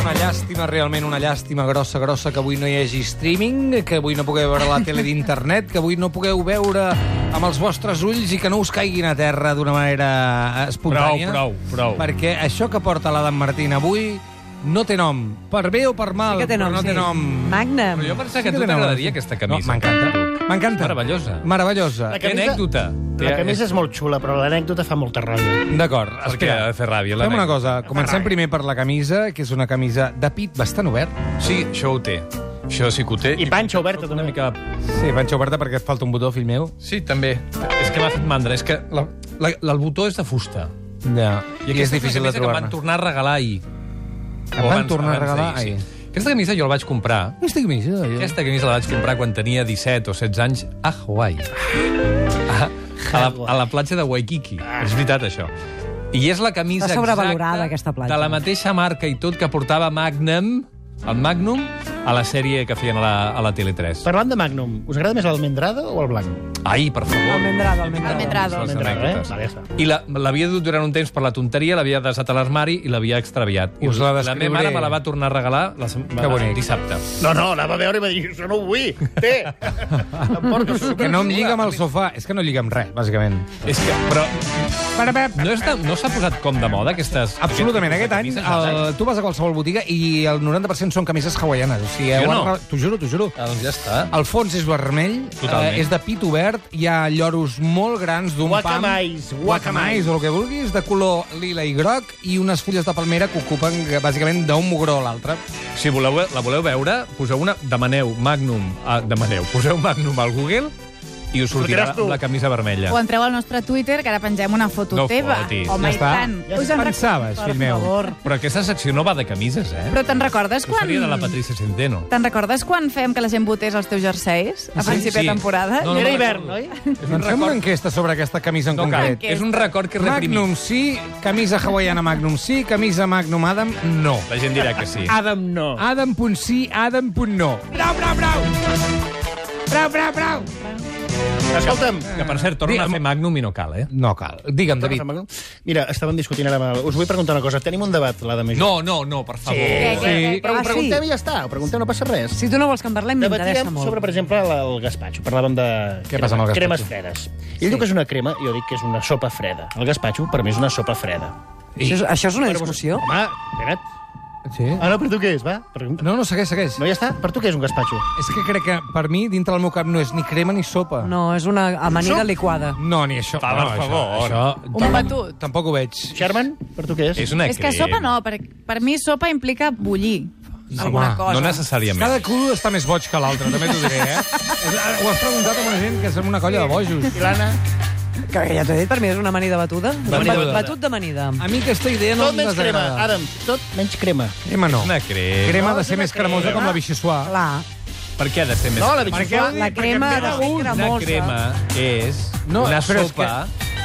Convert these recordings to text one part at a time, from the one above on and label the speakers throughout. Speaker 1: una llàstima, realment una llàstima grossa, grossa, que avui no hi hagi streaming, que avui no pugueu veure la tele d'internet, que avui no pugueu veure amb els vostres ulls i que no us caiguin a terra d'una manera eh, espontània.
Speaker 2: Prou, prou, prou.
Speaker 1: Perquè això que porta l'Adam Martín avui no té nom. Per bé o per mal,
Speaker 3: Sí que té nom,
Speaker 1: però no té
Speaker 3: sí.
Speaker 1: nom.
Speaker 3: Magnum.
Speaker 2: Però jo pensava
Speaker 1: Sí
Speaker 2: que
Speaker 1: té
Speaker 2: a tu
Speaker 1: nom.
Speaker 2: t'agradaria aquesta camisa.
Speaker 1: No, M'encanta. M'encanta.
Speaker 2: Meravellosa.
Speaker 1: Meravellosa.
Speaker 4: La
Speaker 2: Té
Speaker 4: camisa-
Speaker 2: anècdota.
Speaker 4: La camisa és molt xula, però l'anècdota fa molta ràbia.
Speaker 1: D'acord,
Speaker 2: Perquè
Speaker 1: espera.
Speaker 2: ha de fer ràbia,
Speaker 1: Fem una
Speaker 2: l'anècdota.
Speaker 1: cosa. Comencem primer per la camisa, que és una camisa de pit bastant obert.
Speaker 2: Sí, això ho té. Això sí que ho té.
Speaker 4: I panxa oberta,
Speaker 2: Una
Speaker 4: també.
Speaker 2: mica...
Speaker 1: Sí, panxa oberta perquè et falta un botó, fill meu.
Speaker 2: Sí, també. És que m'ha fet mandra. És que la, la, la, el botó és de fusta.
Speaker 1: Ja. I, I és
Speaker 2: aquesta
Speaker 1: difícil de
Speaker 2: és una camisa que em
Speaker 1: trobar-ne.
Speaker 2: van tornar a regalar ahir.
Speaker 1: Em
Speaker 2: O
Speaker 1: van
Speaker 2: abans-
Speaker 1: tornar a
Speaker 2: abans
Speaker 1: regalar
Speaker 2: d'ahir,
Speaker 1: ahir.
Speaker 2: Sí. Aquesta camisa jo la vaig comprar.
Speaker 1: Aquesta camisa, jo.
Speaker 2: Aquesta camisa la vaig comprar quan tenia 17 o 16 anys a Hawaii. A, a, la, a la platja de Waikiki. És veritat, això. I és la camisa
Speaker 3: Està sobrevalorada,
Speaker 2: exacta
Speaker 3: aquesta platja.
Speaker 2: de la mateixa marca i tot que portava Magnum, el Magnum, a la sèrie que feien a la, a la Tele3. Per...
Speaker 4: Parlant de Magnum, us agrada més l'almendrada o el blanc?
Speaker 2: Ai, per favor.
Speaker 3: Almendrado, almendrado.
Speaker 5: Almendrado.
Speaker 2: Les
Speaker 4: Almendrada, eh?
Speaker 2: anècdotes.
Speaker 4: Vale, ja està.
Speaker 2: I la- l'havia dut durant un temps per la tonteria, l'havia desat a l'armari i l'havia extraviat. I
Speaker 1: Us la
Speaker 2: la
Speaker 1: descriuré.
Speaker 2: meva mare me la va tornar a regalar la sem-
Speaker 1: Que bonic.
Speaker 2: dissabte.
Speaker 4: No, no, la va veure i va dir, això no ho vull, té. Em porto
Speaker 1: Que no em lliga amb el sofà.
Speaker 4: superxula.
Speaker 1: És que no lliga amb res, bàsicament.
Speaker 2: És que, però no és de- no s'ha no posat com de moda aquestes... eh?
Speaker 1: Absolutament. Aquest any
Speaker 2: aquestes camises?
Speaker 1: el, tu vas a qualsevol botiga i el 90% són camises hawaianes. O sigui,
Speaker 2: Jo
Speaker 1: ho
Speaker 2: no.
Speaker 1: han- T'ho juro, t'ho juro.
Speaker 2: Ah, doncs ja està.
Speaker 1: El fons és vermell, eh,
Speaker 2: Totalment.
Speaker 1: és de pit obert, hi ha lloros molt grans d'un pam...
Speaker 4: Guacamais, guacamais.
Speaker 1: guacamais, o el que vulguis, de color lila i groc, i unes fulles de palmera que ocupen eh, bàsicament d'un mugró a l'altre.
Speaker 2: Si voleu, la voleu veure, poseu una... Demaneu Magnum... Ah, demaneu. Poseu Magnum al Google i us sortirà
Speaker 4: Sortiràs tu.
Speaker 2: la camisa vermella.
Speaker 5: O entreu al nostre Twitter, que ara pengem una foto
Speaker 2: No
Speaker 5: teva.
Speaker 2: fotis.
Speaker 5: Home,
Speaker 1: Ja
Speaker 5: i
Speaker 1: està.
Speaker 5: tant.
Speaker 1: Ja
Speaker 5: Us en rec-
Speaker 1: pensaves, fill meu?
Speaker 5: Per favor.
Speaker 2: Però aquesta secció no va de camises, eh?
Speaker 5: Però te'n recordes
Speaker 2: Això
Speaker 5: quan...
Speaker 2: seria de la Patricia Centeno.
Speaker 5: Te'n recordes quan fèiem que la gent votés els teus jerseis? A principi de temporada?
Speaker 2: No, no,
Speaker 4: Era
Speaker 2: no,
Speaker 4: hivern, oi?
Speaker 1: Doncs fem una enquesta sobre aquesta camisa en
Speaker 2: No cal.
Speaker 1: concret.
Speaker 5: Aquesta.
Speaker 2: És un record que reprimim.
Speaker 1: Magnum sí, camisa hawaiana Magnum sí, camisa Magnum Adam no.
Speaker 2: La gent dirà que sí.
Speaker 5: Ah,
Speaker 4: Adam no.
Speaker 1: Adam.sí, Adam.no. Brau, brau, brau! Brau, brau, brau!
Speaker 4: Escolta'm,
Speaker 2: Que, per cert, torna a fer Magnum i no cal, eh?
Speaker 1: No cal. Digue'm, David.
Speaker 4: Mira, estàvem discutint ara... amb el- Us vull preguntar una cosa. Tenim un debat, l'Adam i jo.
Speaker 2: No, no, no, per favor.
Speaker 5: Què, què,
Speaker 1: Sí.
Speaker 5: què,
Speaker 4: Eh, Però ho
Speaker 3: Ah, sí?
Speaker 4: preguntem i ja està. Ho preguntem, no passa res.
Speaker 3: Si tu no vols que en parlem, m'interessa
Speaker 4: Debatíem
Speaker 3: molt.
Speaker 4: sobre, per exemple, la- el gazpacho. Parlàvem de
Speaker 1: Què passa amb el gazpacho?
Speaker 4: cremes fredes. Ell diu que és una crema, jo dic que és una sopa freda. El gazpacho, per mi, és una sopa freda.
Speaker 3: Això, és, això és una discussió?
Speaker 4: Home, espera't.
Speaker 1: Sí.
Speaker 4: Ah, no, per tu què és, va? Pregunta.
Speaker 1: No, no, segueix, segueix.
Speaker 4: No, ja està. Per tu què és un gazpacho?
Speaker 1: És que crec que per mi, dintre del meu cap, no és ni crema ni sopa.
Speaker 3: No, és una amanida
Speaker 4: Sóc-
Speaker 3: liquada.
Speaker 1: No, ni això.
Speaker 2: Va,
Speaker 1: no,
Speaker 2: per
Speaker 1: això-
Speaker 2: favor.
Speaker 1: Això,
Speaker 5: Un batut.
Speaker 1: tampoc ho veig.
Speaker 4: Sherman, per tu què és?
Speaker 2: És una
Speaker 5: És que sopa no, per, per mi sopa implica bullir alguna
Speaker 1: home,
Speaker 5: cosa.
Speaker 2: No necessàriament.
Speaker 1: Cada cul està més boig que l'altre, també t'ho diré, eh? És- Ho has preguntat a una gent que som una colla de bojos.
Speaker 4: Plana.
Speaker 3: Que ja t'ho he dit, per mi és una amanida batuda.
Speaker 2: Amanida
Speaker 3: Bat-
Speaker 2: batuda.
Speaker 3: Batut d'amanida.
Speaker 5: Ah,
Speaker 1: A mi aquesta idea no
Speaker 4: Tot
Speaker 1: em
Speaker 4: menys crema,
Speaker 1: desagrada.
Speaker 4: Adam. Tot menys crema.
Speaker 1: Crema no.
Speaker 2: Una crema.
Speaker 1: Crema ha de
Speaker 4: No,
Speaker 1: ser
Speaker 4: és una
Speaker 1: més cremosa
Speaker 4: crema.
Speaker 1: com la Vichyssoise.
Speaker 3: Clar,
Speaker 2: Per què ha de ser més...
Speaker 4: No, la
Speaker 2: crema?
Speaker 4: bitxofa...
Speaker 3: la crema ha de ser
Speaker 2: Una
Speaker 3: cremosa.
Speaker 2: crema és
Speaker 1: No,
Speaker 2: no, una
Speaker 1: però és
Speaker 2: sopa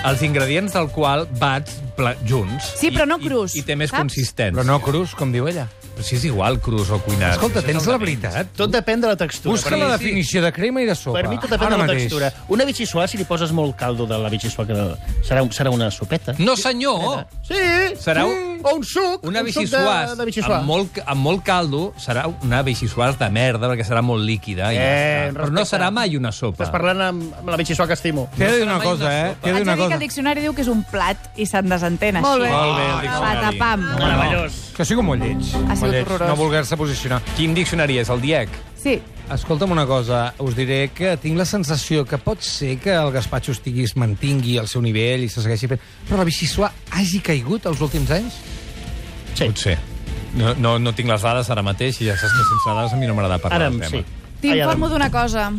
Speaker 2: els ingredients del qual bats pla- junts.
Speaker 5: Sí, però no
Speaker 2: I-
Speaker 5: crus,
Speaker 2: I, i té més
Speaker 5: saps?
Speaker 2: consistència.
Speaker 1: Però no crus, com diu ella.
Speaker 2: Però si és igual crus o cuinar.
Speaker 1: Escolta,
Speaker 2: Això
Speaker 1: tens
Speaker 2: és el
Speaker 1: la
Speaker 2: de menys.
Speaker 1: veritat.
Speaker 4: Tot depèn de la textura.
Speaker 1: Busca
Speaker 4: Per mi
Speaker 1: la
Speaker 4: sí.
Speaker 1: definició de crema i de sopa.
Speaker 4: Per mi tot depèn
Speaker 1: Ara
Speaker 4: de la
Speaker 1: mateix.
Speaker 4: textura. Una vichissoa, si li poses molt caldo de la vichissoa, que serà, un, serà una sopeta.
Speaker 2: No, senyor!
Speaker 4: Sí,
Speaker 2: Mm. Serà
Speaker 4: sí.
Speaker 2: un-
Speaker 4: O un suc.
Speaker 2: Una
Speaker 4: un suc
Speaker 2: bixissuàs
Speaker 4: de, de vichissoa.
Speaker 2: amb, molt, amb molt caldo serà una bixissuàs de merda perquè serà molt líquida. i ja
Speaker 4: Eh,
Speaker 2: està. però no
Speaker 4: respecte.
Speaker 2: serà mai una sopa.
Speaker 4: Estàs parlant amb, amb la vichissoa que estimo.
Speaker 1: T'he de dir una
Speaker 2: No serà mai
Speaker 1: cosa,
Speaker 2: una
Speaker 1: eh?
Speaker 2: sopa.
Speaker 1: T'he de dir
Speaker 5: Haig de
Speaker 1: una
Speaker 5: dir que
Speaker 1: cosa.
Speaker 5: el diccionari diu que és un plat i se'n desentén així.
Speaker 3: Molt bé.
Speaker 2: Molt
Speaker 5: Ah,
Speaker 2: bé, el diccionari.
Speaker 5: Patapam.
Speaker 4: Meravellós.
Speaker 1: Que sigo molt lleig. Molt
Speaker 5: sigut
Speaker 1: lleig.
Speaker 5: horrorós.
Speaker 1: No voler-se posicionar.
Speaker 2: Quin diccionari és? El DIEC?
Speaker 5: Sí,
Speaker 1: Escolta'm una cosa, us diré que tinc la sensació que pot ser que el gazpacho estigui, es mantingui al seu nivell i se segueixi fent, però la Vichyssoa hagi caigut els últims anys?
Speaker 4: Sí.
Speaker 2: Potser. No, no, no tinc les dades ara mateix i ja saps que sense dades a mi no m'agrada parlar
Speaker 4: Ara,
Speaker 2: del tema.
Speaker 4: sí.
Speaker 5: T'informo d'una cosa.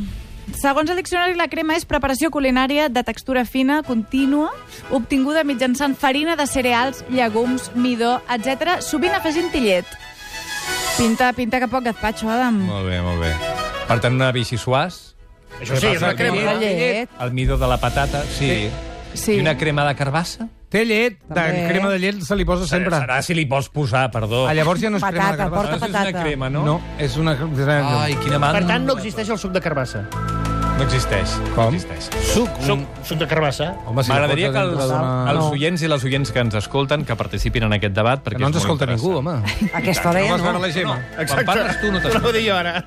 Speaker 5: Segons el diccionari, la crema és preparació culinària de textura fina, contínua, obtinguda mitjançant farina de cereals, llegums, midó, etc, sovint afegint tillet. Pinta, pinta que poc gazpacho, Adam.
Speaker 2: Molt bé, molt bé. Per tant, una bixissuàs,
Speaker 4: Això sí, és una crema.
Speaker 3: la llet.
Speaker 2: el midó de la patata, sí.
Speaker 5: Sí.
Speaker 2: I una crema de carbassa?
Speaker 1: Té llet, de
Speaker 3: També.
Speaker 1: crema de llet se li posa sempre.
Speaker 2: Serà si li pots posar, perdó.
Speaker 1: Ah, llavors ja no és crema de
Speaker 3: Patata,
Speaker 1: carbassa.
Speaker 3: porta
Speaker 2: Llavors és una
Speaker 3: patata.
Speaker 2: crema,
Speaker 1: No,
Speaker 2: no?
Speaker 1: és una...
Speaker 2: Ai, quina
Speaker 4: Per
Speaker 2: mandra.
Speaker 4: tant, no existeix el suc de carbassa.
Speaker 2: No existeix.
Speaker 1: Com?
Speaker 2: No existeix.
Speaker 4: Suc, suc, suc de carbassa.
Speaker 1: Home, si
Speaker 2: M'agradaria que els,
Speaker 1: D'una...
Speaker 2: els
Speaker 3: No.
Speaker 2: oients i les oients que ens escolten que participin en aquest debat, perquè
Speaker 1: Que no ens
Speaker 2: és molt
Speaker 1: escolta ningú,
Speaker 2: interessant.
Speaker 1: home.
Speaker 3: Aquesta hora ja
Speaker 1: vas veure
Speaker 3: no.
Speaker 1: la Gemma.
Speaker 2: Quan parles tu no
Speaker 4: Ho
Speaker 2: t'escolta. eh?
Speaker 4: deia ara.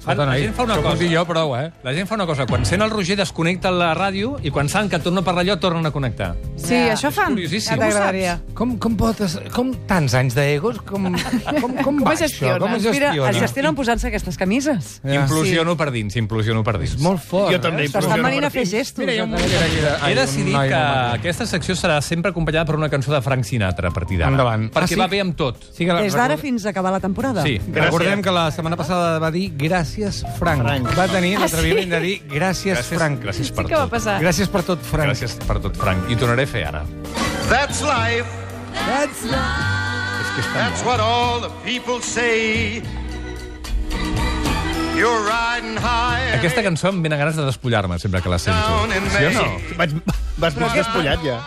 Speaker 2: Fan- La
Speaker 1: noi,
Speaker 2: gent fa una
Speaker 1: això ho puc
Speaker 2: cosa.
Speaker 1: dir jo, prou, eh?
Speaker 2: La gent fa una cosa. Quan sent el Roger desconnecta la ràdio i quan saben que torna per allò tornen a connectar.
Speaker 5: Sí,
Speaker 3: Ja.
Speaker 5: això fan.
Speaker 2: curiosíssim.
Speaker 3: Ja
Speaker 5: ho saps?
Speaker 3: t'agradaria.
Speaker 1: Com, com pots... Com tants anys d'egos? Com, com, com va
Speaker 5: es gestiona?
Speaker 1: això? Com es
Speaker 3: Mira,
Speaker 1: gestiona?
Speaker 3: es gestionen posant-se aquestes camises.
Speaker 2: Eh,
Speaker 1: Ja.
Speaker 2: Implosiono per dins, implosiono per dins.
Speaker 1: És molt fort,
Speaker 4: Jo també
Speaker 1: eh?
Speaker 3: T'estan
Speaker 4: Funciona
Speaker 3: venint a
Speaker 4: per
Speaker 3: fer
Speaker 4: aquí.
Speaker 3: gestos. eh?
Speaker 1: Mira, hi ha un
Speaker 3: a
Speaker 1: muller aquí de...
Speaker 2: He
Speaker 1: ai, un
Speaker 2: decidit
Speaker 1: noi
Speaker 2: que
Speaker 1: molt maco.
Speaker 2: aquesta secció serà sempre acompanyada per una cançó de Frank Sinatra a partir d'ara.
Speaker 1: Endavant.
Speaker 2: Perquè
Speaker 1: Ah, sí?
Speaker 2: va bé amb tot.
Speaker 1: Sí que la-
Speaker 3: Des d'ara
Speaker 1: recorda-
Speaker 3: fins a acabar la temporada?
Speaker 2: Sí.
Speaker 4: Gràcies.
Speaker 1: Recordem que la setmana passada va dir gràcies, Frank.
Speaker 4: Frank.
Speaker 1: Va tenir
Speaker 3: Ah,
Speaker 1: l'atreviment de dir gràcies,
Speaker 2: Gràcies,
Speaker 1: Frank.
Speaker 2: gràcies per
Speaker 5: Sí que va
Speaker 2: tot.
Speaker 5: passar.
Speaker 1: Gràcies per tot, Frank.
Speaker 2: Gràcies per tot, Frank. I ho tornaré a fer ara.
Speaker 6: That's life.
Speaker 1: That's
Speaker 2: És que és tan
Speaker 6: That's
Speaker 2: bo.
Speaker 6: what all the people say. You're riding high. and
Speaker 2: Aquesta cançó em venen ganes de despullar-me sempre que la
Speaker 6: Down
Speaker 2: sento.
Speaker 6: in
Speaker 2: Sí o no?
Speaker 6: May.
Speaker 4: Vaig, vas més despullat, ja.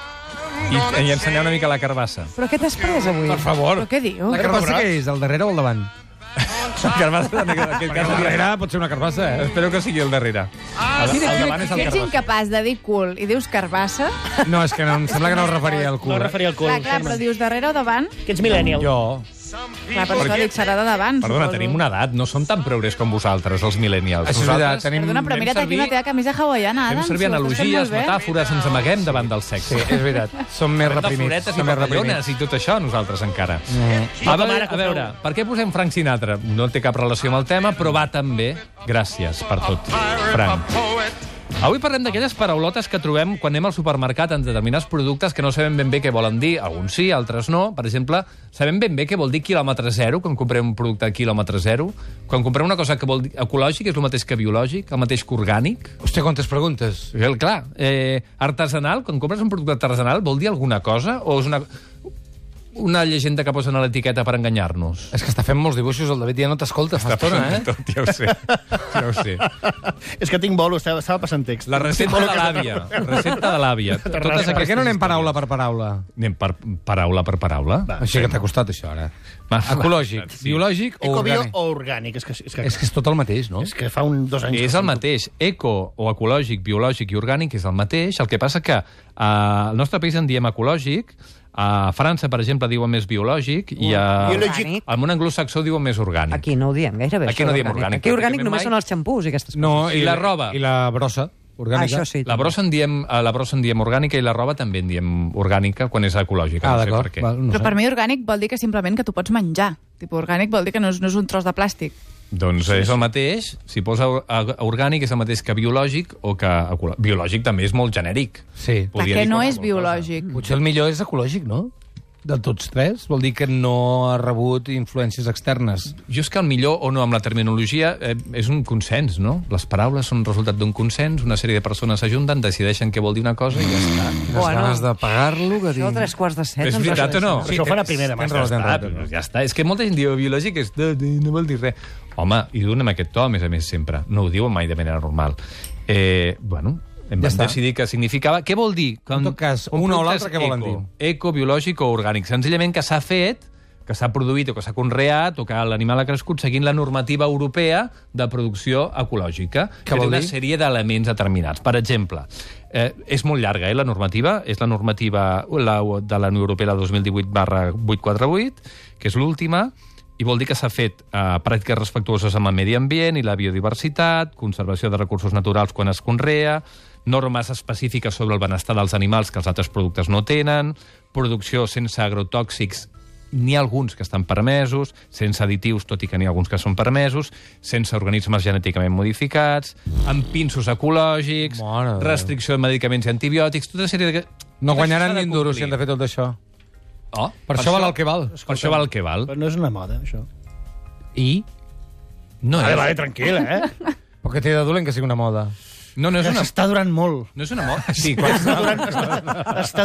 Speaker 2: I, i ensenyar una mica la carbassa.
Speaker 3: Però què t'has pres avui?
Speaker 2: Per favor.
Speaker 5: Però què diu?
Speaker 1: La carbassa que és, al darrere o al davant?
Speaker 2: La carbassa, en aquest cas, darrere.
Speaker 1: pot ser una eh? carbassa,
Speaker 2: Espero que sigui el darrere.
Speaker 5: Ah,
Speaker 2: El, el davant és
Speaker 5: Si
Speaker 2: el
Speaker 5: ets
Speaker 2: carbassa.
Speaker 5: incapaç de dir cul i dius carbassa,
Speaker 1: No, és que no, em sembla que no es referia al
Speaker 4: No
Speaker 1: cul. eh?
Speaker 4: em referia al cul.
Speaker 5: clar, clar, però dius darrere o davant,
Speaker 4: Que ets millennial.
Speaker 1: Jo.
Speaker 6: Some
Speaker 5: clar, per
Speaker 6: people
Speaker 5: això
Speaker 6: get
Speaker 5: dic serà de davant.
Speaker 2: Perdona,
Speaker 5: suposo.
Speaker 2: tenim una edat, no som tan progres com vosaltres, els millennials.
Speaker 1: Això és veritat,
Speaker 2: Nosaltres
Speaker 1: tenim...
Speaker 5: Perdona, però
Speaker 2: fem
Speaker 5: mira't aquí
Speaker 2: servir-
Speaker 5: la teva camisa hawaiana, Adam.
Speaker 2: fem servir
Speaker 5: si ho estàs fent
Speaker 2: analogies,
Speaker 5: molt bé.
Speaker 2: metàfores, ens amaguem davant del
Speaker 1: Sí,
Speaker 2: sexe.
Speaker 1: és veritat. Som més
Speaker 2: Parlem de
Speaker 1: reprimits.
Speaker 2: floretes i
Speaker 1: Som més reprimits.
Speaker 2: papallones i tot això, nosaltres encara. A,
Speaker 4: Com
Speaker 2: veure,
Speaker 4: ara,
Speaker 2: a
Speaker 4: com
Speaker 2: veure,
Speaker 4: ara.
Speaker 2: per què posem Frank Sinatra? No té cap relació amb el tema, però va també. Gràcies per
Speaker 6: a
Speaker 2: tot,
Speaker 6: pirate,
Speaker 2: Frank.
Speaker 6: a poet.
Speaker 2: Avui parlem d'aquelles paraulotes que trobem quan anem al supermercat en determinats productes que no sabem ben bé què volen dir. Alguns sí, altres no. Per exemple, sabem ben bé què vol dir quilòmetre zero quan comprem un producte a quilòmetre zero? Quan comprem una cosa que vol dir ecològic, és el mateix que biològic, el mateix que orgànic?
Speaker 1: Hòstia, quantes preguntes.
Speaker 2: Eh, Clar, eh, artesanal, quan compres un producte artesanal, vol dir alguna cosa? O és una, una llegenda que posen a l'etiqueta per enganyar-nos?
Speaker 1: És que està fent molts dibuixos, el David ja no t'escolta fa estona, eh?
Speaker 2: Tot, ja ho sé, ja ho sé.
Speaker 4: És que tinc bolo, estava, estava passant text.
Speaker 2: La recepta de l'àvia, recepta de l'àvia. Totes
Speaker 1: Per què
Speaker 2: aquestes
Speaker 1: no anem paraula per paraula?
Speaker 2: Anem per paraula per paraula. Va.
Speaker 1: Així que t'ha costat, això, ara.
Speaker 2: Va.
Speaker 1: Ecològic,
Speaker 2: Sí.
Speaker 1: biològic o
Speaker 4: Ecobio
Speaker 1: orgànic?
Speaker 4: o orgànic. És que, és que,
Speaker 1: És que és tot el mateix, no?
Speaker 4: és que fa un, dos anys...
Speaker 2: És el mateix. Eco o ecològic, biològic i orgànic és el mateix. El que passa que eh, al nostre país en diem ecològic, a França, per exemple, diuen més biològic i a...
Speaker 4: Biològic.
Speaker 2: al món anglosaxó diuen més orgànic.
Speaker 3: Aquí no ho diem gairebé.
Speaker 2: Aquí
Speaker 3: això
Speaker 2: no diem
Speaker 3: d'orgànic.
Speaker 2: orgànic,
Speaker 3: Aquí orgànic
Speaker 2: pràcticament
Speaker 3: només
Speaker 2: mai.
Speaker 3: són els xampús i aquestes
Speaker 1: No,
Speaker 2: I la roba.
Speaker 1: I la brossa
Speaker 3: Ah,
Speaker 1: orgànica.
Speaker 3: això sí.
Speaker 2: La brossa, en diem, a la brossa en diem orgànica i la roba també en diem orgànica quan és ecològica.
Speaker 1: Ah,
Speaker 2: no sé per
Speaker 1: d'acord.
Speaker 2: què.
Speaker 1: val, No
Speaker 5: Però
Speaker 1: sé.
Speaker 5: per mi orgànic vol dir que simplement que tu pots menjar. Tipo, orgànic vol dir que no és, no és un tros de plàstic.
Speaker 2: Doncs és el mateix. Si posa or- a- orgànic és el mateix que biològic o que ecològic. Biològic també és molt genèric.
Speaker 1: Sí.
Speaker 2: Podria
Speaker 5: Perquè
Speaker 2: dir
Speaker 5: no
Speaker 2: qualsevol
Speaker 5: és
Speaker 2: cosa.
Speaker 5: biològic.
Speaker 1: Potser el millor és ecològic, no? De tots tres. Vol dir que no ha rebut influències externes.
Speaker 2: Jo és que el millor o no amb la terminologia eh, és un consens, no? Les paraules són resultat d'un consens, una sèrie de persones s'ajunten, decideixen què vol dir una cosa i ja està.
Speaker 1: Quines
Speaker 3: Bueno.
Speaker 1: ganes de pagar-lo, que
Speaker 3: Això a
Speaker 1: dic.
Speaker 3: tres quarts de set.
Speaker 2: És
Speaker 3: doncs,
Speaker 2: veritat o no?
Speaker 4: Sí, això ho fan a primera mà.
Speaker 1: tens
Speaker 4: ja
Speaker 1: raó, tens
Speaker 4: està.
Speaker 2: Ah, però ja està. És que molta gent diu biològic és... de- de- no vol dir res. Home, i donem aquest to, a més a més, sempre. No ho diuen mai de manera normal. Eh, bueno, hem
Speaker 1: Ja
Speaker 2: ja
Speaker 1: està.
Speaker 2: decidir què significava. Què vol dir? Quan,
Speaker 1: En tot cas,
Speaker 2: quan
Speaker 1: una o
Speaker 2: productes
Speaker 1: l'altra, què volen
Speaker 2: eco,
Speaker 1: dir?
Speaker 2: Eco, biològic o orgànic. Senzillament que s'ha fet que s'ha produït o que s'ha conreat o que l'animal ha crescut seguint la normativa europea de producció ecològica.
Speaker 1: Què vol
Speaker 2: té una
Speaker 1: dir?
Speaker 2: sèrie d'elements determinats. Per exemple, eh, és molt llarga, eh, la normativa. És la normativa la, de la Unió Europea la 2018 barra 848, que és l'última, i vol dir que s'ha fet eh, pràctiques respectuoses amb el medi ambient i la biodiversitat, conservació de recursos naturals quan es conrea, normes específiques sobre el benestar dels animals que els altres productes no tenen, producció sense agrotòxics n'hi ha alguns que estan permesos, sense additius, tot i que n'hi ha alguns que són permesos, sense organismes genèticament modificats, amb pinços ecològics,
Speaker 1: Mare de Déu.
Speaker 2: restricció de medicaments i antibiòtics, tota una sèrie de...
Speaker 1: No guanyaran
Speaker 2: S'ha
Speaker 1: ni
Speaker 2: de
Speaker 1: un duro si
Speaker 2: complir.
Speaker 1: han de fer tot això.
Speaker 2: Oh,
Speaker 1: Per, això val el que val.
Speaker 2: Per això val el que val.
Speaker 4: Però no és una moda, això.
Speaker 1: I?
Speaker 2: No
Speaker 4: Vale, vale,
Speaker 2: és,
Speaker 4: tranquil·la, eh?
Speaker 1: Però què té de dolent que sigui una moda?
Speaker 2: no, no és una...
Speaker 4: S'està durant molt.
Speaker 2: No és una moda. Sí, quan,
Speaker 4: Està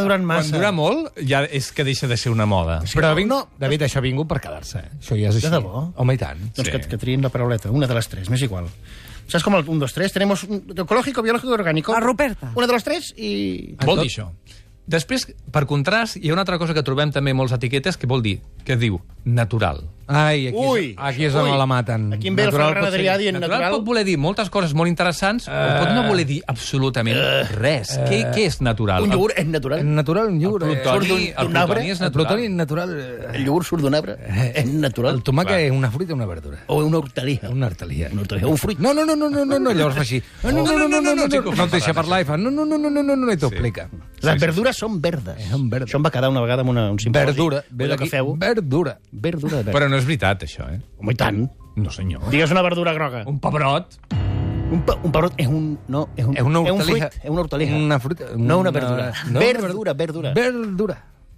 Speaker 4: durant
Speaker 2: quan
Speaker 4: massa.
Speaker 2: dura molt ja és que deixa de ser una moda.
Speaker 1: Però vinc... no, David, això ha vingut per quedar-se. eh? Això ja és així.
Speaker 4: De debò?
Speaker 1: Home, i tant.
Speaker 4: Doncs
Speaker 2: Sí.
Speaker 4: que, que triïn la parauleta, una de les tres, m'és igual. Saps com el 1, 2, 3? Tenemos un- ecológico, biológico y orgánico.
Speaker 3: La Ruperta.
Speaker 4: Una de les tres i...
Speaker 2: Vol dir això. Després, per contrast, hi ha una altra cosa que trobem també en molts etiquetes que vol dir, que diu natural.
Speaker 1: Ai, aquí,
Speaker 4: Ui!
Speaker 1: és, aquí és on
Speaker 4: Ui!
Speaker 1: la maten.
Speaker 4: Aquí em ve el
Speaker 1: Natural
Speaker 4: Ferran
Speaker 1: pot ser-
Speaker 4: Adrià dient
Speaker 2: Natural,
Speaker 4: natural.
Speaker 2: pot voler dir moltes coses molt interessants, uh, però pot no voler dir absolutament uh, res. Uh, què, què és natural?
Speaker 4: Un iogurt és natural.
Speaker 1: Natural, un lliure.
Speaker 2: El plutoni,
Speaker 4: Surt d'un-
Speaker 2: el
Speaker 4: d'un arbre,
Speaker 2: plutoni és
Speaker 1: El
Speaker 2: natural.
Speaker 1: plutoni natural. eh,
Speaker 4: El iogurt surt d'un arbre. És natural.
Speaker 1: El tomàquet és una fruita o una verdura.
Speaker 4: O una hortaliza.
Speaker 1: Una hortaliza.
Speaker 4: Una hortaliza, un fruit.
Speaker 1: No, no, no, no, no, no, no, llavors fa així. No, no, no, no, no, no, no, no, no et deixa parlar i fa no, no, no, no, no, no, no, i t'ho explica.
Speaker 4: Les verdures són verdes.
Speaker 1: Eh, Són verdes.
Speaker 4: Això em va quedar una vegada en una, un simposi.
Speaker 1: Verdura, ve
Speaker 4: Allò
Speaker 1: d'aquí,
Speaker 4: que feu.
Speaker 1: verdura.
Speaker 4: Verdura de
Speaker 2: Però
Speaker 4: verd.
Speaker 2: no és veritat, això, eh?
Speaker 4: Home, i tant.
Speaker 2: No, senyor.
Speaker 4: Digues una verdura groga.
Speaker 2: Un pebrot.
Speaker 4: Un, pe un pebrot és un... No, és un,
Speaker 1: És una
Speaker 4: és un
Speaker 1: hortaliza.
Speaker 4: fruit. És una hortaliza.
Speaker 1: Una fruita.
Speaker 4: No una verdura.
Speaker 1: no,
Speaker 4: verdura, verdura.
Speaker 1: Verdura.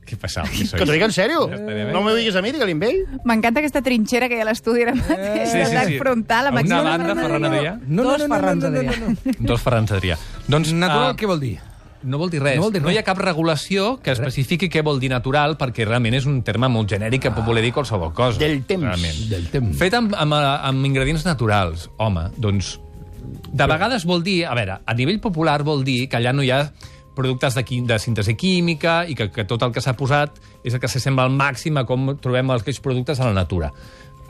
Speaker 2: Què passava?
Speaker 4: Que t'ho dic en sèrio.
Speaker 2: estaria bé.
Speaker 4: No m'ho diguis a mi, digue-li a ell.
Speaker 5: Mm. M'encanta aquesta trinxera que hi ha a l'estudi ara mateix, sí, sí, sí. frontal, amb
Speaker 2: A una
Speaker 5: Axel
Speaker 2: banda, Ferran Adrià.
Speaker 1: No, no,
Speaker 3: Dos
Speaker 1: no, no,
Speaker 3: Ferrans
Speaker 1: no, no,
Speaker 3: Adrià.
Speaker 1: no, no.
Speaker 2: Dos Ferran Adrià. Doncs
Speaker 1: Natural,
Speaker 2: ah,
Speaker 1: què vol dir?
Speaker 2: No vol dir res.
Speaker 1: No vol dir
Speaker 2: no hi ha cap regulació que especifiqui què vol dir natural, perquè realment és un terme molt genèric que pot voler dir qualsevol cosa.
Speaker 4: Del temps.
Speaker 2: Realment.
Speaker 1: Del temps.
Speaker 2: Fet amb, amb, eh, amb ingredients naturals, home, doncs... De vegades vol dir, a veure, a nivell popular vol dir que allà no hi ha productes de, qui- de síntesi química i que, que tot el que s'ha posat és el que s'assembla al màxim a com trobem els aquests productes a la natura.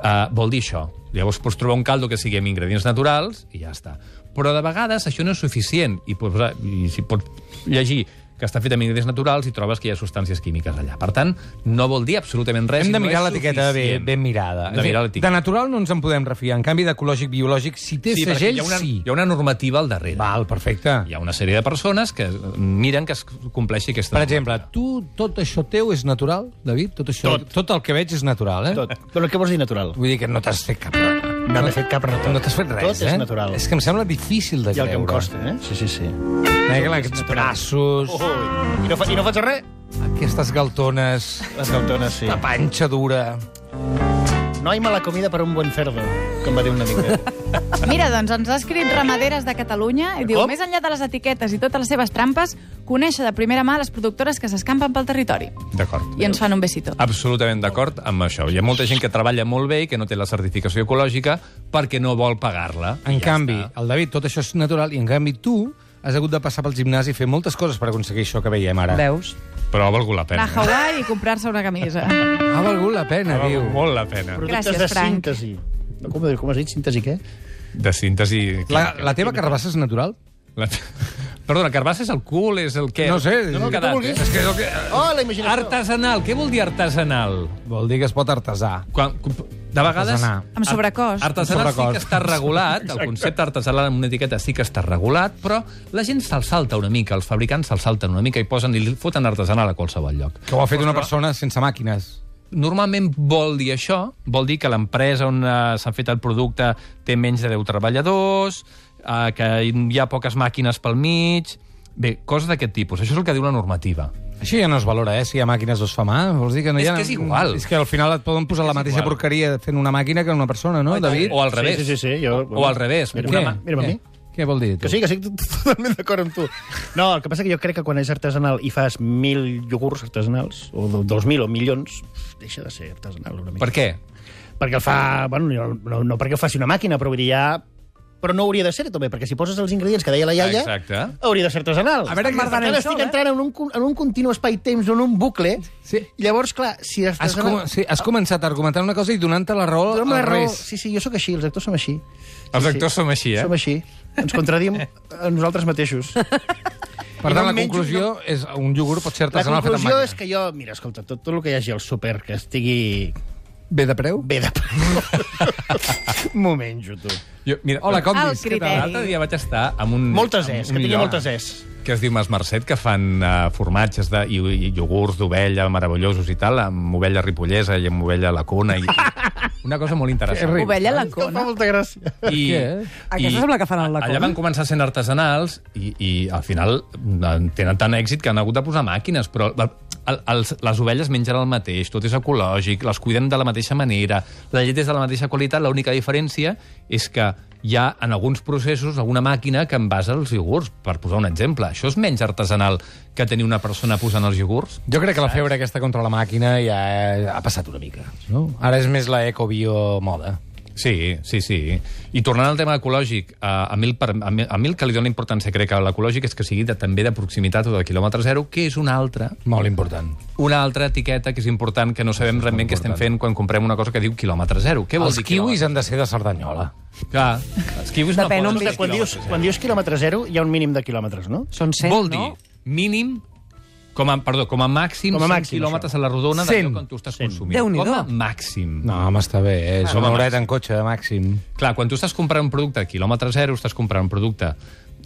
Speaker 2: Uh, vol dir això. Llavors pots trobar un caldo que sigui amb ingredients naturals i ja està. Però de vegades això no és suficient i, pots, i si pots llegir que està fet amb ingredients naturals i trobes que hi ha substàncies químiques allà. Per tant, no vol dir absolutament res.
Speaker 1: Hem de
Speaker 2: no
Speaker 1: mirar
Speaker 2: és
Speaker 1: l'etiqueta ben,
Speaker 2: suficient.
Speaker 1: ben mirada.
Speaker 2: De mirar l'etiqueta.
Speaker 1: De natural no ens en podem refiar. En canvi, d'ecològic, biològic, si té
Speaker 2: Sí, perquè
Speaker 1: segell,
Speaker 2: hi ha, una,
Speaker 1: sí.
Speaker 2: hi ha una normativa al darrere.
Speaker 1: Val, perfecte.
Speaker 2: Hi ha una sèrie de persones que miren que es compleixi aquesta
Speaker 1: Per
Speaker 2: normativa.
Speaker 1: exemple, tu, tot això teu és natural, David? Tot, això,
Speaker 4: Tot.
Speaker 1: tot el que veig és natural, eh?
Speaker 4: Tot. Però què vols dir natural?
Speaker 1: Vull dir que no t'has fet cap... No,
Speaker 4: m'he fet cap retorn.
Speaker 1: No t'has fet res,
Speaker 4: Tot és
Speaker 1: eh?
Speaker 4: natural.
Speaker 1: És que em sembla difícil de
Speaker 4: I el
Speaker 1: creure.
Speaker 4: que em costa, eh? Sí, sí, sí.
Speaker 1: Negre, aquests braços,
Speaker 4: Oh, I, no fa, I no faig res?
Speaker 1: aquestes galtones,
Speaker 4: Les galtones, sí.
Speaker 1: la panxa dura...
Speaker 4: No hay mala comida per un buen cerdo, com va dir una mica.
Speaker 5: Mira, doncs ens ha escrit Ramaderes de Catalunya i diu,
Speaker 4: Com?
Speaker 5: més enllà de les etiquetes i totes les seves trampes, conèixer de primera mà les productores que s'escampen pel territori.
Speaker 2: D'acord.
Speaker 5: I ens fan un besito.
Speaker 2: Ah, Absolutament d'acord amb això. Hi ha molta gent que treballa molt bé i que no té la certificació ecològica perquè no vol pagar-la.
Speaker 1: En
Speaker 2: I
Speaker 1: ja canvi,
Speaker 2: està.
Speaker 1: el David, tot això és natural, i en canvi tu has hagut de passar pel gimnàs i fer moltes coses per aconseguir això que veiem ara.
Speaker 3: Veus?
Speaker 2: Però ha valgut la pena.
Speaker 5: Anar a Hawaii i comprar-se una camisa.
Speaker 1: Ha valgut la pena,
Speaker 2: Ha
Speaker 1: diu.
Speaker 2: valgut molt la pena.
Speaker 4: Productes
Speaker 5: Gràcies,
Speaker 4: de
Speaker 5: Frank.
Speaker 4: síntesi. No, com, com has dit? Síntesi què?
Speaker 2: De síntesi...
Speaker 1: La, la teva carbassa és natural?
Speaker 2: la... Perdona, carbassa és el cul, és el què?
Speaker 1: No sé,
Speaker 2: No, no,
Speaker 1: el que
Speaker 2: quedat,
Speaker 1: vulguis.
Speaker 2: eh? És que és el que...
Speaker 4: Oh, la imaginació.
Speaker 2: Artesanal. Què vol dir artesanal?
Speaker 1: Vol dir que es pot artesar.
Speaker 2: Quan, de vegades...
Speaker 1: Artesanà.
Speaker 5: Amb sobrecost.
Speaker 2: Artesanal
Speaker 1: Amb sobrecost.
Speaker 2: sí que està regulat, el concepte artesanal amb una etiqueta sí que està regulat, però la gent se'l salta una mica, els fabricants se'l salten una mica i posen i li foten artesanal a qualsevol lloc.
Speaker 1: Que ho ha fet una persona sense màquines.
Speaker 2: Normalment vol dir això, vol dir que l'empresa on eh, s'ha fet el producte té menys de 10 treballadors, eh, que hi ha poques màquines pel mig... Bé, coses d'aquest tipus. Això és el que diu la normativa.
Speaker 1: Això ja no es valora, eh? Si hi ha màquines o es fa mà, vols dir que no
Speaker 2: És
Speaker 1: hi ha...
Speaker 2: que és igual.
Speaker 1: És que al final et poden posar la mateixa
Speaker 2: igual.
Speaker 1: porqueria fent una màquina que una persona, no, David?
Speaker 2: O al revés.
Speaker 4: Sí, sí, sí, sí, jo-
Speaker 2: O al revés.
Speaker 4: Mira,
Speaker 2: Una
Speaker 1: Què?
Speaker 2: mà-
Speaker 4: mira'm a mi.
Speaker 1: Què? Què vol dir, tu?
Speaker 4: Que sí, que estic totalment d'acord amb tu. No, el que passa que jo crec que quan és artesanal i fas mil iogurts artesanals, o do- dos mil o milions, deixa de ser artesanal una mica.
Speaker 2: Per què?
Speaker 4: Perquè el fa... Bueno, no, no, no perquè ho faci una màquina, però vull dir, ja... Però no hauria de ser, també, perquè si poses els ingredients que deia la iaia,
Speaker 2: Exacte.
Speaker 4: hauria de ser artesanal.
Speaker 1: A veure,
Speaker 4: per tant,
Speaker 1: Marc Berenxol,
Speaker 4: estic
Speaker 1: eh?
Speaker 4: entrant en un, con- en un continu espai-temps, en un bucle,
Speaker 1: Sí.
Speaker 4: i llavors, clar, si
Speaker 1: Has,
Speaker 4: artesanal...
Speaker 1: com... sí, has començat argumentant una cosa i donant-te la raó
Speaker 4: Dóna'm la
Speaker 1: al
Speaker 4: raó.
Speaker 1: revés.
Speaker 4: Sí, sí, jo sóc així, els actors som així.
Speaker 2: Els actors som així, eh?
Speaker 4: Som així. Ens contradim a nosaltres mateixos.
Speaker 1: Per
Speaker 4: I
Speaker 1: tant,
Speaker 4: no
Speaker 1: la
Speaker 4: menjo,
Speaker 1: conclusió és un iogurt pot ser
Speaker 4: La
Speaker 1: artesanal fet amb
Speaker 4: conclusió
Speaker 1: màquina.
Speaker 4: és que jo... Mira, escolta, tot, tot el que hi hagi al súper que estigui
Speaker 1: Ve de preu?
Speaker 4: bé de preu, m'ho menjo, tu.
Speaker 2: Jo, mira,
Speaker 1: Hola, com
Speaker 5: El
Speaker 1: dius?
Speaker 5: criteri.
Speaker 2: L'altre dia vaig estar amb un...
Speaker 4: Moltes
Speaker 2: amb
Speaker 4: es,
Speaker 2: un
Speaker 4: que tingui
Speaker 2: lloc
Speaker 4: moltes es.
Speaker 2: que es diu Mas Mercet, que fan uh, formatges de, i, i iogurts d'ovella meravellosos i tal, amb ovella ripollesa i amb ovella lacona. I, una cosa molt interessant.
Speaker 1: Que
Speaker 5: Ovella la
Speaker 4: Em fa
Speaker 5: cona.
Speaker 4: molta gràcia.
Speaker 2: I,
Speaker 1: Què?
Speaker 3: Aquesta és la que fan al lacona.
Speaker 2: Allà van començar sent artesanals i, i al final en tenen tant èxit que han hagut de posar màquines, però el, el, els, les ovelles mengen el mateix, tot és ecològic, les cuiden de la mateixa manera, la llet és de la mateixa qualitat, l'única diferència és que hi ha en alguns processos alguna màquina que envasa els iogurts, per posar un exemple. Això és menys artesanal que tenir una persona posant els iogurts?
Speaker 1: Jo crec que la febre aquesta contra la màquina ja ha passat una mica. No? Ara és més la eco-bio moda.
Speaker 2: Sí, sí, sí. I tornant al tema ecològic, a, a, mi, el, per- a, mi, a mi el que li dóna importància, crec, a l'ecològic és que sigui de, també de proximitat o de quilòmetre zero, que és una altra,
Speaker 1: Molt important.
Speaker 2: una altra etiqueta que és important, que no sabem realment què estem fent quan comprem una cosa que diu quilòmetre zero. Què vol
Speaker 1: Els
Speaker 2: dir
Speaker 1: kiwis
Speaker 2: quilòmetre?
Speaker 1: han de ser de Cerdanyola.
Speaker 2: Clar, els kiwis
Speaker 3: Depèn
Speaker 2: no
Speaker 3: on
Speaker 2: poden
Speaker 4: Clar,
Speaker 2: ser
Speaker 4: quan, dius, quan dius quilòmetre zero, hi ha un mínim de quilòmetres, no?
Speaker 3: Són 100,
Speaker 2: Vol dir,
Speaker 3: no?
Speaker 2: mínim, com a, perdó, com a màxim,
Speaker 4: Com a
Speaker 2: 100
Speaker 4: màxim,
Speaker 2: quilòmetres
Speaker 4: això.
Speaker 2: a la rodona d'allò
Speaker 4: 100.
Speaker 2: quan tu estàs
Speaker 4: 100.
Speaker 2: consumint.
Speaker 3: Déu-n'hi-do.
Speaker 2: Com a màxim.
Speaker 1: No, home, està bé, eh? és
Speaker 2: no,
Speaker 1: una
Speaker 2: no.
Speaker 1: horeta en cotxe, de màxim.
Speaker 2: Clar, quan tu estàs comprant un producte a quilòmetre zero, estàs comprant un producte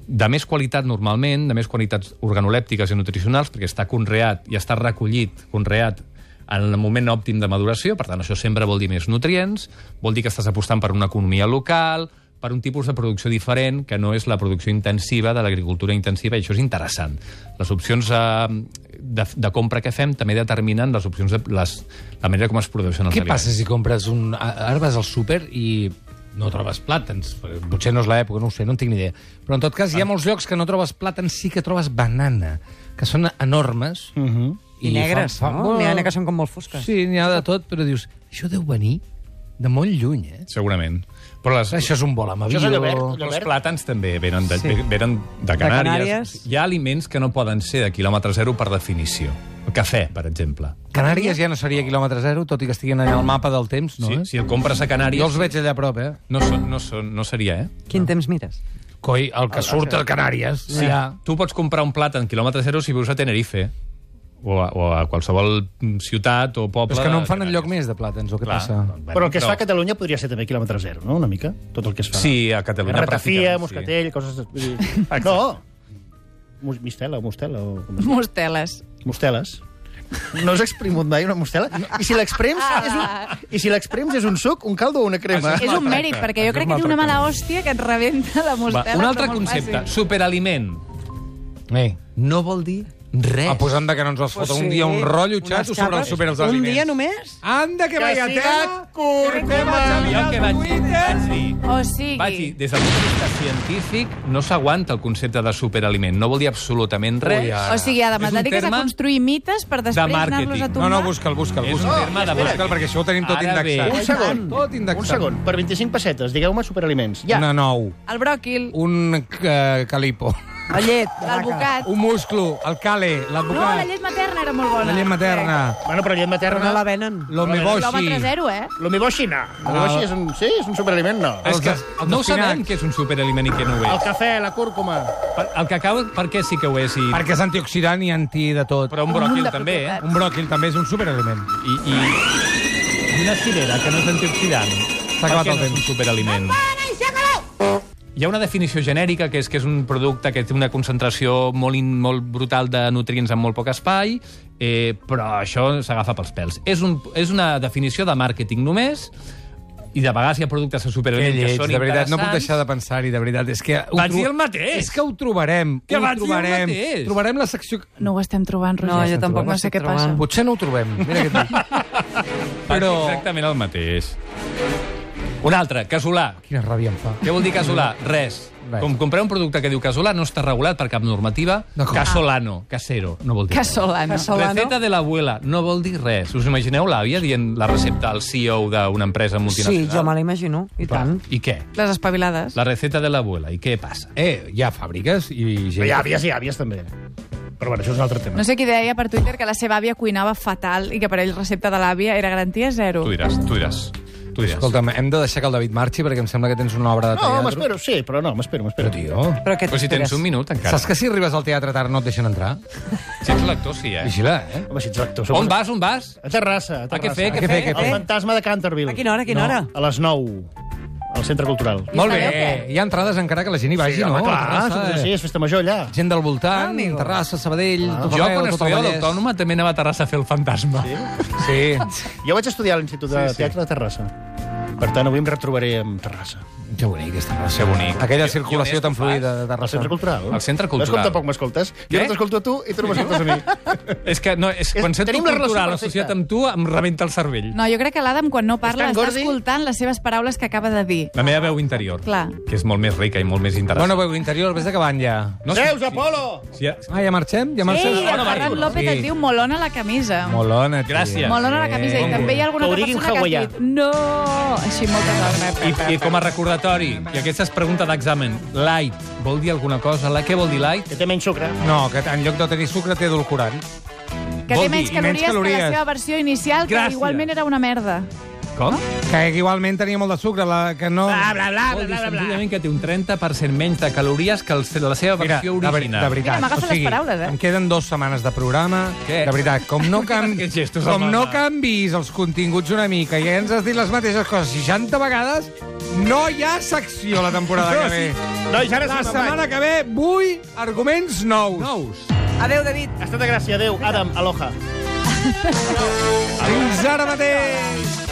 Speaker 2: de més qualitat normalment, de més qualitats organolèptiques i nutricionals, perquè està conreat i està recollit, conreat en el moment òptim de maduració, per tant, això sempre vol dir més nutrients, vol dir que estàs apostant per una economia local, per un tipus de producció diferent, que no és la producció intensiva de l'agricultura intensiva, i això és interessant. Les opcions eh, de, de compra que fem també determinen les opcions de, les, la manera com es produeixen els
Speaker 1: Què
Speaker 2: aliments.
Speaker 1: passa si compres un... a- Ara vas al súper i no trobes plàtans. Potser no és l'època, no ho sé, no en tinc ni idea. Però en tot cas hi ha molts llocs que no trobes plàtans, sí que trobes banana, que són enormes. Uh -huh.
Speaker 3: I, negres, no? N'hi ha que són com molt fosques.
Speaker 1: Sí, n'hi ha de tot, però dius, això deu venir de molt lluny, eh?
Speaker 2: Segurament. Però les,
Speaker 1: Això és un vol amb avió.
Speaker 4: Això és allò verd.
Speaker 2: Però els plàtans també venen de, sí. venen de Canàries.
Speaker 3: Canàries.
Speaker 2: Hi ha aliments que no poden ser de quilòmetre zero per definició. El cafè, per exemple.
Speaker 1: Canàries ja no seria quilòmetre zero, tot i que estiguin allà al mapa del temps, no?
Speaker 2: No, si,
Speaker 1: eh?
Speaker 2: si el compres a
Speaker 1: Jo els
Speaker 2: Canàries...
Speaker 1: veig allà a prop, eh?
Speaker 2: No, són, no, són, no seria, eh?
Speaker 3: Quin temps mires?
Speaker 1: Coi, el que surt a Canàries.
Speaker 2: Sí. Ja. Tu pots comprar un plat en quilòmetre zero si vius a Tenerife o a, o a qualsevol mm, ciutat o poble...
Speaker 1: Però és que no en
Speaker 2: de
Speaker 1: fan
Speaker 2: Canàries.
Speaker 1: enlloc més de plàtans, o què
Speaker 2: Clar.
Speaker 1: passa?
Speaker 2: Bueno,
Speaker 4: Però el que es fa a Catalunya podria ser també quilòmetre zero, no? Una mica, tot el que es fa.
Speaker 2: Sí, a Catalunya pràcticament,
Speaker 4: Ratafia,
Speaker 2: sí.
Speaker 4: moscatell, coses... de- vull dir- No! Mus- Mistela, o mostela, o... com es diu?
Speaker 5: Mosteles.
Speaker 4: Mosteles. No has exprimut mai una mostela? I si l'exprems és, un... I si l'exprems és un suc, un caldo o una crema?
Speaker 5: És un mèrit, perquè jo crec que té una mala hòstia que et rebenta la
Speaker 2: Va,
Speaker 5: mostela.
Speaker 2: un
Speaker 5: però
Speaker 2: altre
Speaker 5: molt
Speaker 2: concepte,
Speaker 5: fàcil.
Speaker 2: superaliment.
Speaker 1: Eh.
Speaker 2: No vol dir res.
Speaker 1: A Ah, posant de que no ens els fota un dia un rotllo xato sobre els superels
Speaker 3: Un
Speaker 1: aliments.
Speaker 3: dia només?
Speaker 1: Anda, que vallatet!
Speaker 2: jo que vaig, vaig dir...
Speaker 5: O Oh, sigui...
Speaker 2: Vaig dir, des del punt de vista científic, no s'aguanta el concepte de superaliment. No vol dir absolutament res.
Speaker 1: Ui, ara.
Speaker 5: O sigui, Adam,
Speaker 2: És
Speaker 5: et
Speaker 2: un
Speaker 5: dediques a
Speaker 2: terme
Speaker 5: construir mites per després anar-los a
Speaker 2: màrqueting.
Speaker 1: No,
Speaker 5: tombar?
Speaker 1: no, busca'l, busca'l,
Speaker 2: És un
Speaker 1: busca'l.
Speaker 2: terme de
Speaker 1: Busca'l,
Speaker 2: màrqueting.
Speaker 1: perquè això ho tenim tot
Speaker 2: Ara bé.
Speaker 1: indexat.
Speaker 4: Un segon.
Speaker 1: Tot indexat.
Speaker 4: Un segon. Per 25 pessetes, digueu-me superaliments. Ja.
Speaker 1: Una nou,
Speaker 5: El bròquil,
Speaker 1: un eh, calipo,
Speaker 3: La llet, de
Speaker 5: el
Speaker 3: vaca.
Speaker 5: bocat...
Speaker 1: un musclo, el cale,
Speaker 5: No, la
Speaker 1: l'advocat,
Speaker 5: llet materna era molt bona.
Speaker 1: la llet materna, Oh,
Speaker 4: Bueno, però llet
Speaker 3: Però no
Speaker 4: materna...
Speaker 3: la venen.
Speaker 5: Quilòmetre
Speaker 1: l'omeboshi,
Speaker 5: zero, eh?
Speaker 4: L'omeboshi, no.
Speaker 1: Ah.
Speaker 4: L'omeboshi és un... Sí, és un superaliment, no.
Speaker 2: És que
Speaker 1: Els- els
Speaker 2: no
Speaker 1: espinacs.
Speaker 2: sabem què és un superaliment i què no ho
Speaker 4: El
Speaker 2: és.
Speaker 4: cafè, la cúrcuma...
Speaker 2: Per, el cacau, per què sí que ho és? I,
Speaker 1: perquè és antioxidant i anti de tot.
Speaker 2: però un bròquil també, eh?
Speaker 1: Un bròquil també és un superaliment.
Speaker 2: I, i, i una cirera que no és antioxidant.
Speaker 1: S'ha acabat
Speaker 2: Per què
Speaker 1: el
Speaker 2: no
Speaker 1: temps.
Speaker 2: és un superaliment. Hi ha una definició genèrica que és que és un producte que té una concentració molt, in, molt brutal de nutrients en molt poc espai, eh, però això s'agafa pels pèls. És, un, és una definició de màrqueting només, i de vegades hi ha productes de
Speaker 1: Que
Speaker 2: superaliment que,
Speaker 1: lleig,
Speaker 2: són
Speaker 1: de veritat, no puc
Speaker 2: interessants.
Speaker 1: deixar de pensar-hi, de veritat. És que ho
Speaker 2: Vaig
Speaker 1: tro-
Speaker 2: dir el mateix.
Speaker 1: És que ho trobarem.
Speaker 2: Que
Speaker 1: ho
Speaker 2: vaig dir el
Speaker 1: trobarem.
Speaker 2: mateix.
Speaker 1: Trobarem la secció...
Speaker 5: No ho estem trobant, Roger.
Speaker 3: No, jo tampoc
Speaker 5: no
Speaker 3: ho
Speaker 5: sé
Speaker 3: estic
Speaker 5: què passa.
Speaker 3: trobant.
Speaker 1: Potser no ho trobem. Mira què et dic.
Speaker 2: Però...
Speaker 1: Però-
Speaker 2: Exactament el mateix. Un altre, casolà.
Speaker 1: Quina ràbia em fa.
Speaker 2: Què vol dir casolà? Res.
Speaker 1: Res.
Speaker 2: Com comprar un producte que diu casolà no està regulat per cap normativa.
Speaker 1: D'acord.
Speaker 2: Casolano, casero, no
Speaker 5: Ah.
Speaker 2: vol dir res.
Speaker 5: Casolano.
Speaker 3: Casolano.
Speaker 2: Receta de l'abuela, no vol dir res. Us imagineu l'àvia dient la recepta al CEO d'una empresa
Speaker 3: Sí,
Speaker 2: multinacional?
Speaker 3: jo me la imagino, i tant.
Speaker 2: I què?
Speaker 5: Les espavilades.
Speaker 2: La recepta de l'abuela, i què passa?
Speaker 1: Eh, hi ha fàbriques i gent...
Speaker 4: Hi ha àvies i àvies, també. Però bueno, això és un altre tema.
Speaker 5: No sé qui deia per Twitter que la seva àvia cuinava fatal i que per ell recepta de l'àvia era garantia zero.
Speaker 2: Tu diràs, tu diràs. Tu diràs.
Speaker 1: Escolta'm, hem de deixar que el David marxi perquè em sembla que tens una obra de
Speaker 4: No,
Speaker 1: teatre.
Speaker 4: m'espero, sí, però no, m'espero, m'espero.
Speaker 1: Però, tio...
Speaker 3: Però què
Speaker 2: Però si tens
Speaker 3: t'esperes?
Speaker 2: un minut, encara.
Speaker 1: Saps que si arribes al teatre tard no et deixen entrar?
Speaker 2: Si ets lector, sí, eh?
Speaker 1: Vigila, eh?
Speaker 4: Home, si ets rector,
Speaker 2: On vas, on vas?
Speaker 4: A Terrassa, a
Speaker 2: A
Speaker 4: Terrassa.
Speaker 2: què fer,
Speaker 1: A
Speaker 2: què
Speaker 1: què Ah, fer,
Speaker 2: fer?
Speaker 1: què
Speaker 4: El fantasma de Canterville.
Speaker 3: A quina hora, a quina hora?
Speaker 4: A les 9, al Centre Cultural.
Speaker 1: Molt bé,
Speaker 5: sabeu què?
Speaker 1: hi ha entrades encara que la gent hi vagi, no?
Speaker 4: home, clar,
Speaker 1: A Terrassa, eh.
Speaker 4: Terrassa, sí, és festa major allà.
Speaker 1: Gent del voltant,
Speaker 3: Amigo.
Speaker 1: Terrassa, Sabadell... Ah.
Speaker 2: Jo, quan estudiava a l'Autònoma, també anava a Terrassa a fer el fantasma. Sí?
Speaker 1: Sí.
Speaker 4: Jo vaig estudiar a l'Institut de sí, Teatre de Terrassa. Per tant, avui em retrobaré amb Terrassa.
Speaker 1: Que bonic, és Terrassa.
Speaker 2: Que bonic.
Speaker 1: Aquella
Speaker 2: Jo- jo
Speaker 1: circulació
Speaker 2: honest
Speaker 1: tan
Speaker 2: ho
Speaker 1: fluida de
Speaker 4: Al
Speaker 1: Terrassa.
Speaker 4: Centre Cultural.
Speaker 2: Al Centre
Speaker 4: Veus com
Speaker 2: Cultural.
Speaker 4: tampoc m'escoltes?
Speaker 2: Què?
Speaker 4: Jo no t'escolto a tu i tu no m'escoltes a mi.
Speaker 2: És que no, és,
Speaker 4: És-
Speaker 2: quan sento
Speaker 4: tenim la relació
Speaker 2: cultural
Speaker 4: perfecta.
Speaker 2: associat amb tu, em rebenta el cervell.
Speaker 5: No, jo crec que l'Adam, quan no parla,
Speaker 4: tan
Speaker 5: està
Speaker 4: gordi.
Speaker 5: escoltant les seves paraules que acaba de dir.
Speaker 2: La meva veu interior,
Speaker 5: Clar.
Speaker 2: que és molt més rica i molt més interessant.
Speaker 1: Bueno, veu interior, vés acabant ja.
Speaker 2: no sé-
Speaker 4: Zeus, Apolo!
Speaker 2: Sí, ja-
Speaker 1: Ah, ja marxem? Ja marxem?
Speaker 5: Ei, el
Speaker 2: Bona
Speaker 5: Ferran
Speaker 2: Marina.
Speaker 5: López et diu molona la camisa.
Speaker 1: Molona, tio.
Speaker 2: Gràcies.
Speaker 5: Molona la camisa. I també hi ha alguna
Speaker 4: Que ho
Speaker 5: altra
Speaker 4: digui en
Speaker 5: persona que
Speaker 4: hawaià.
Speaker 5: ha dit... No! així moltes hores.
Speaker 2: I, I com a recordatori, i aquesta és pregunta d'examen, light vol dir alguna cosa? La, què vol dir light?
Speaker 4: Que té menys sucre.
Speaker 1: No, que en lloc de tenir sucre té edulcorant.
Speaker 5: Que
Speaker 2: vol
Speaker 5: té
Speaker 2: dir
Speaker 5: menys
Speaker 1: i menys
Speaker 5: calories, que
Speaker 1: calories.
Speaker 5: la seva versió inicial, que
Speaker 2: Gràcies.
Speaker 5: igualment era una merda.
Speaker 2: Com?
Speaker 1: Que igualment tenia molt de sucre, la, que no...
Speaker 4: Bla, bla, bla,
Speaker 2: Vol dir
Speaker 4: bla, bla, bla.
Speaker 2: senzillament que té un 30% menys de calories que el, la seva
Speaker 1: Mira,
Speaker 2: versió
Speaker 1: de, veri- de
Speaker 2: original.
Speaker 1: veritat.
Speaker 5: Mira, m'agafa les paraules, eh?
Speaker 1: Em queden dues setmanes de programa.
Speaker 2: Què?
Speaker 1: De veritat, com no, can...
Speaker 2: Aquests gestos,
Speaker 1: com
Speaker 2: home.
Speaker 1: no canvis els continguts una mica i ja ens has dit les mateixes coses 60 vegades, no hi ha secció la temporada que ve.
Speaker 4: Nois, ara
Speaker 1: La
Speaker 4: sí, me'n
Speaker 1: setmana que ve vull arguments nous.
Speaker 2: Nous.
Speaker 3: Adéu, David.
Speaker 4: vaig. Estat de gràcia, adeu. Adam, aloha.
Speaker 1: Fins ara mateix!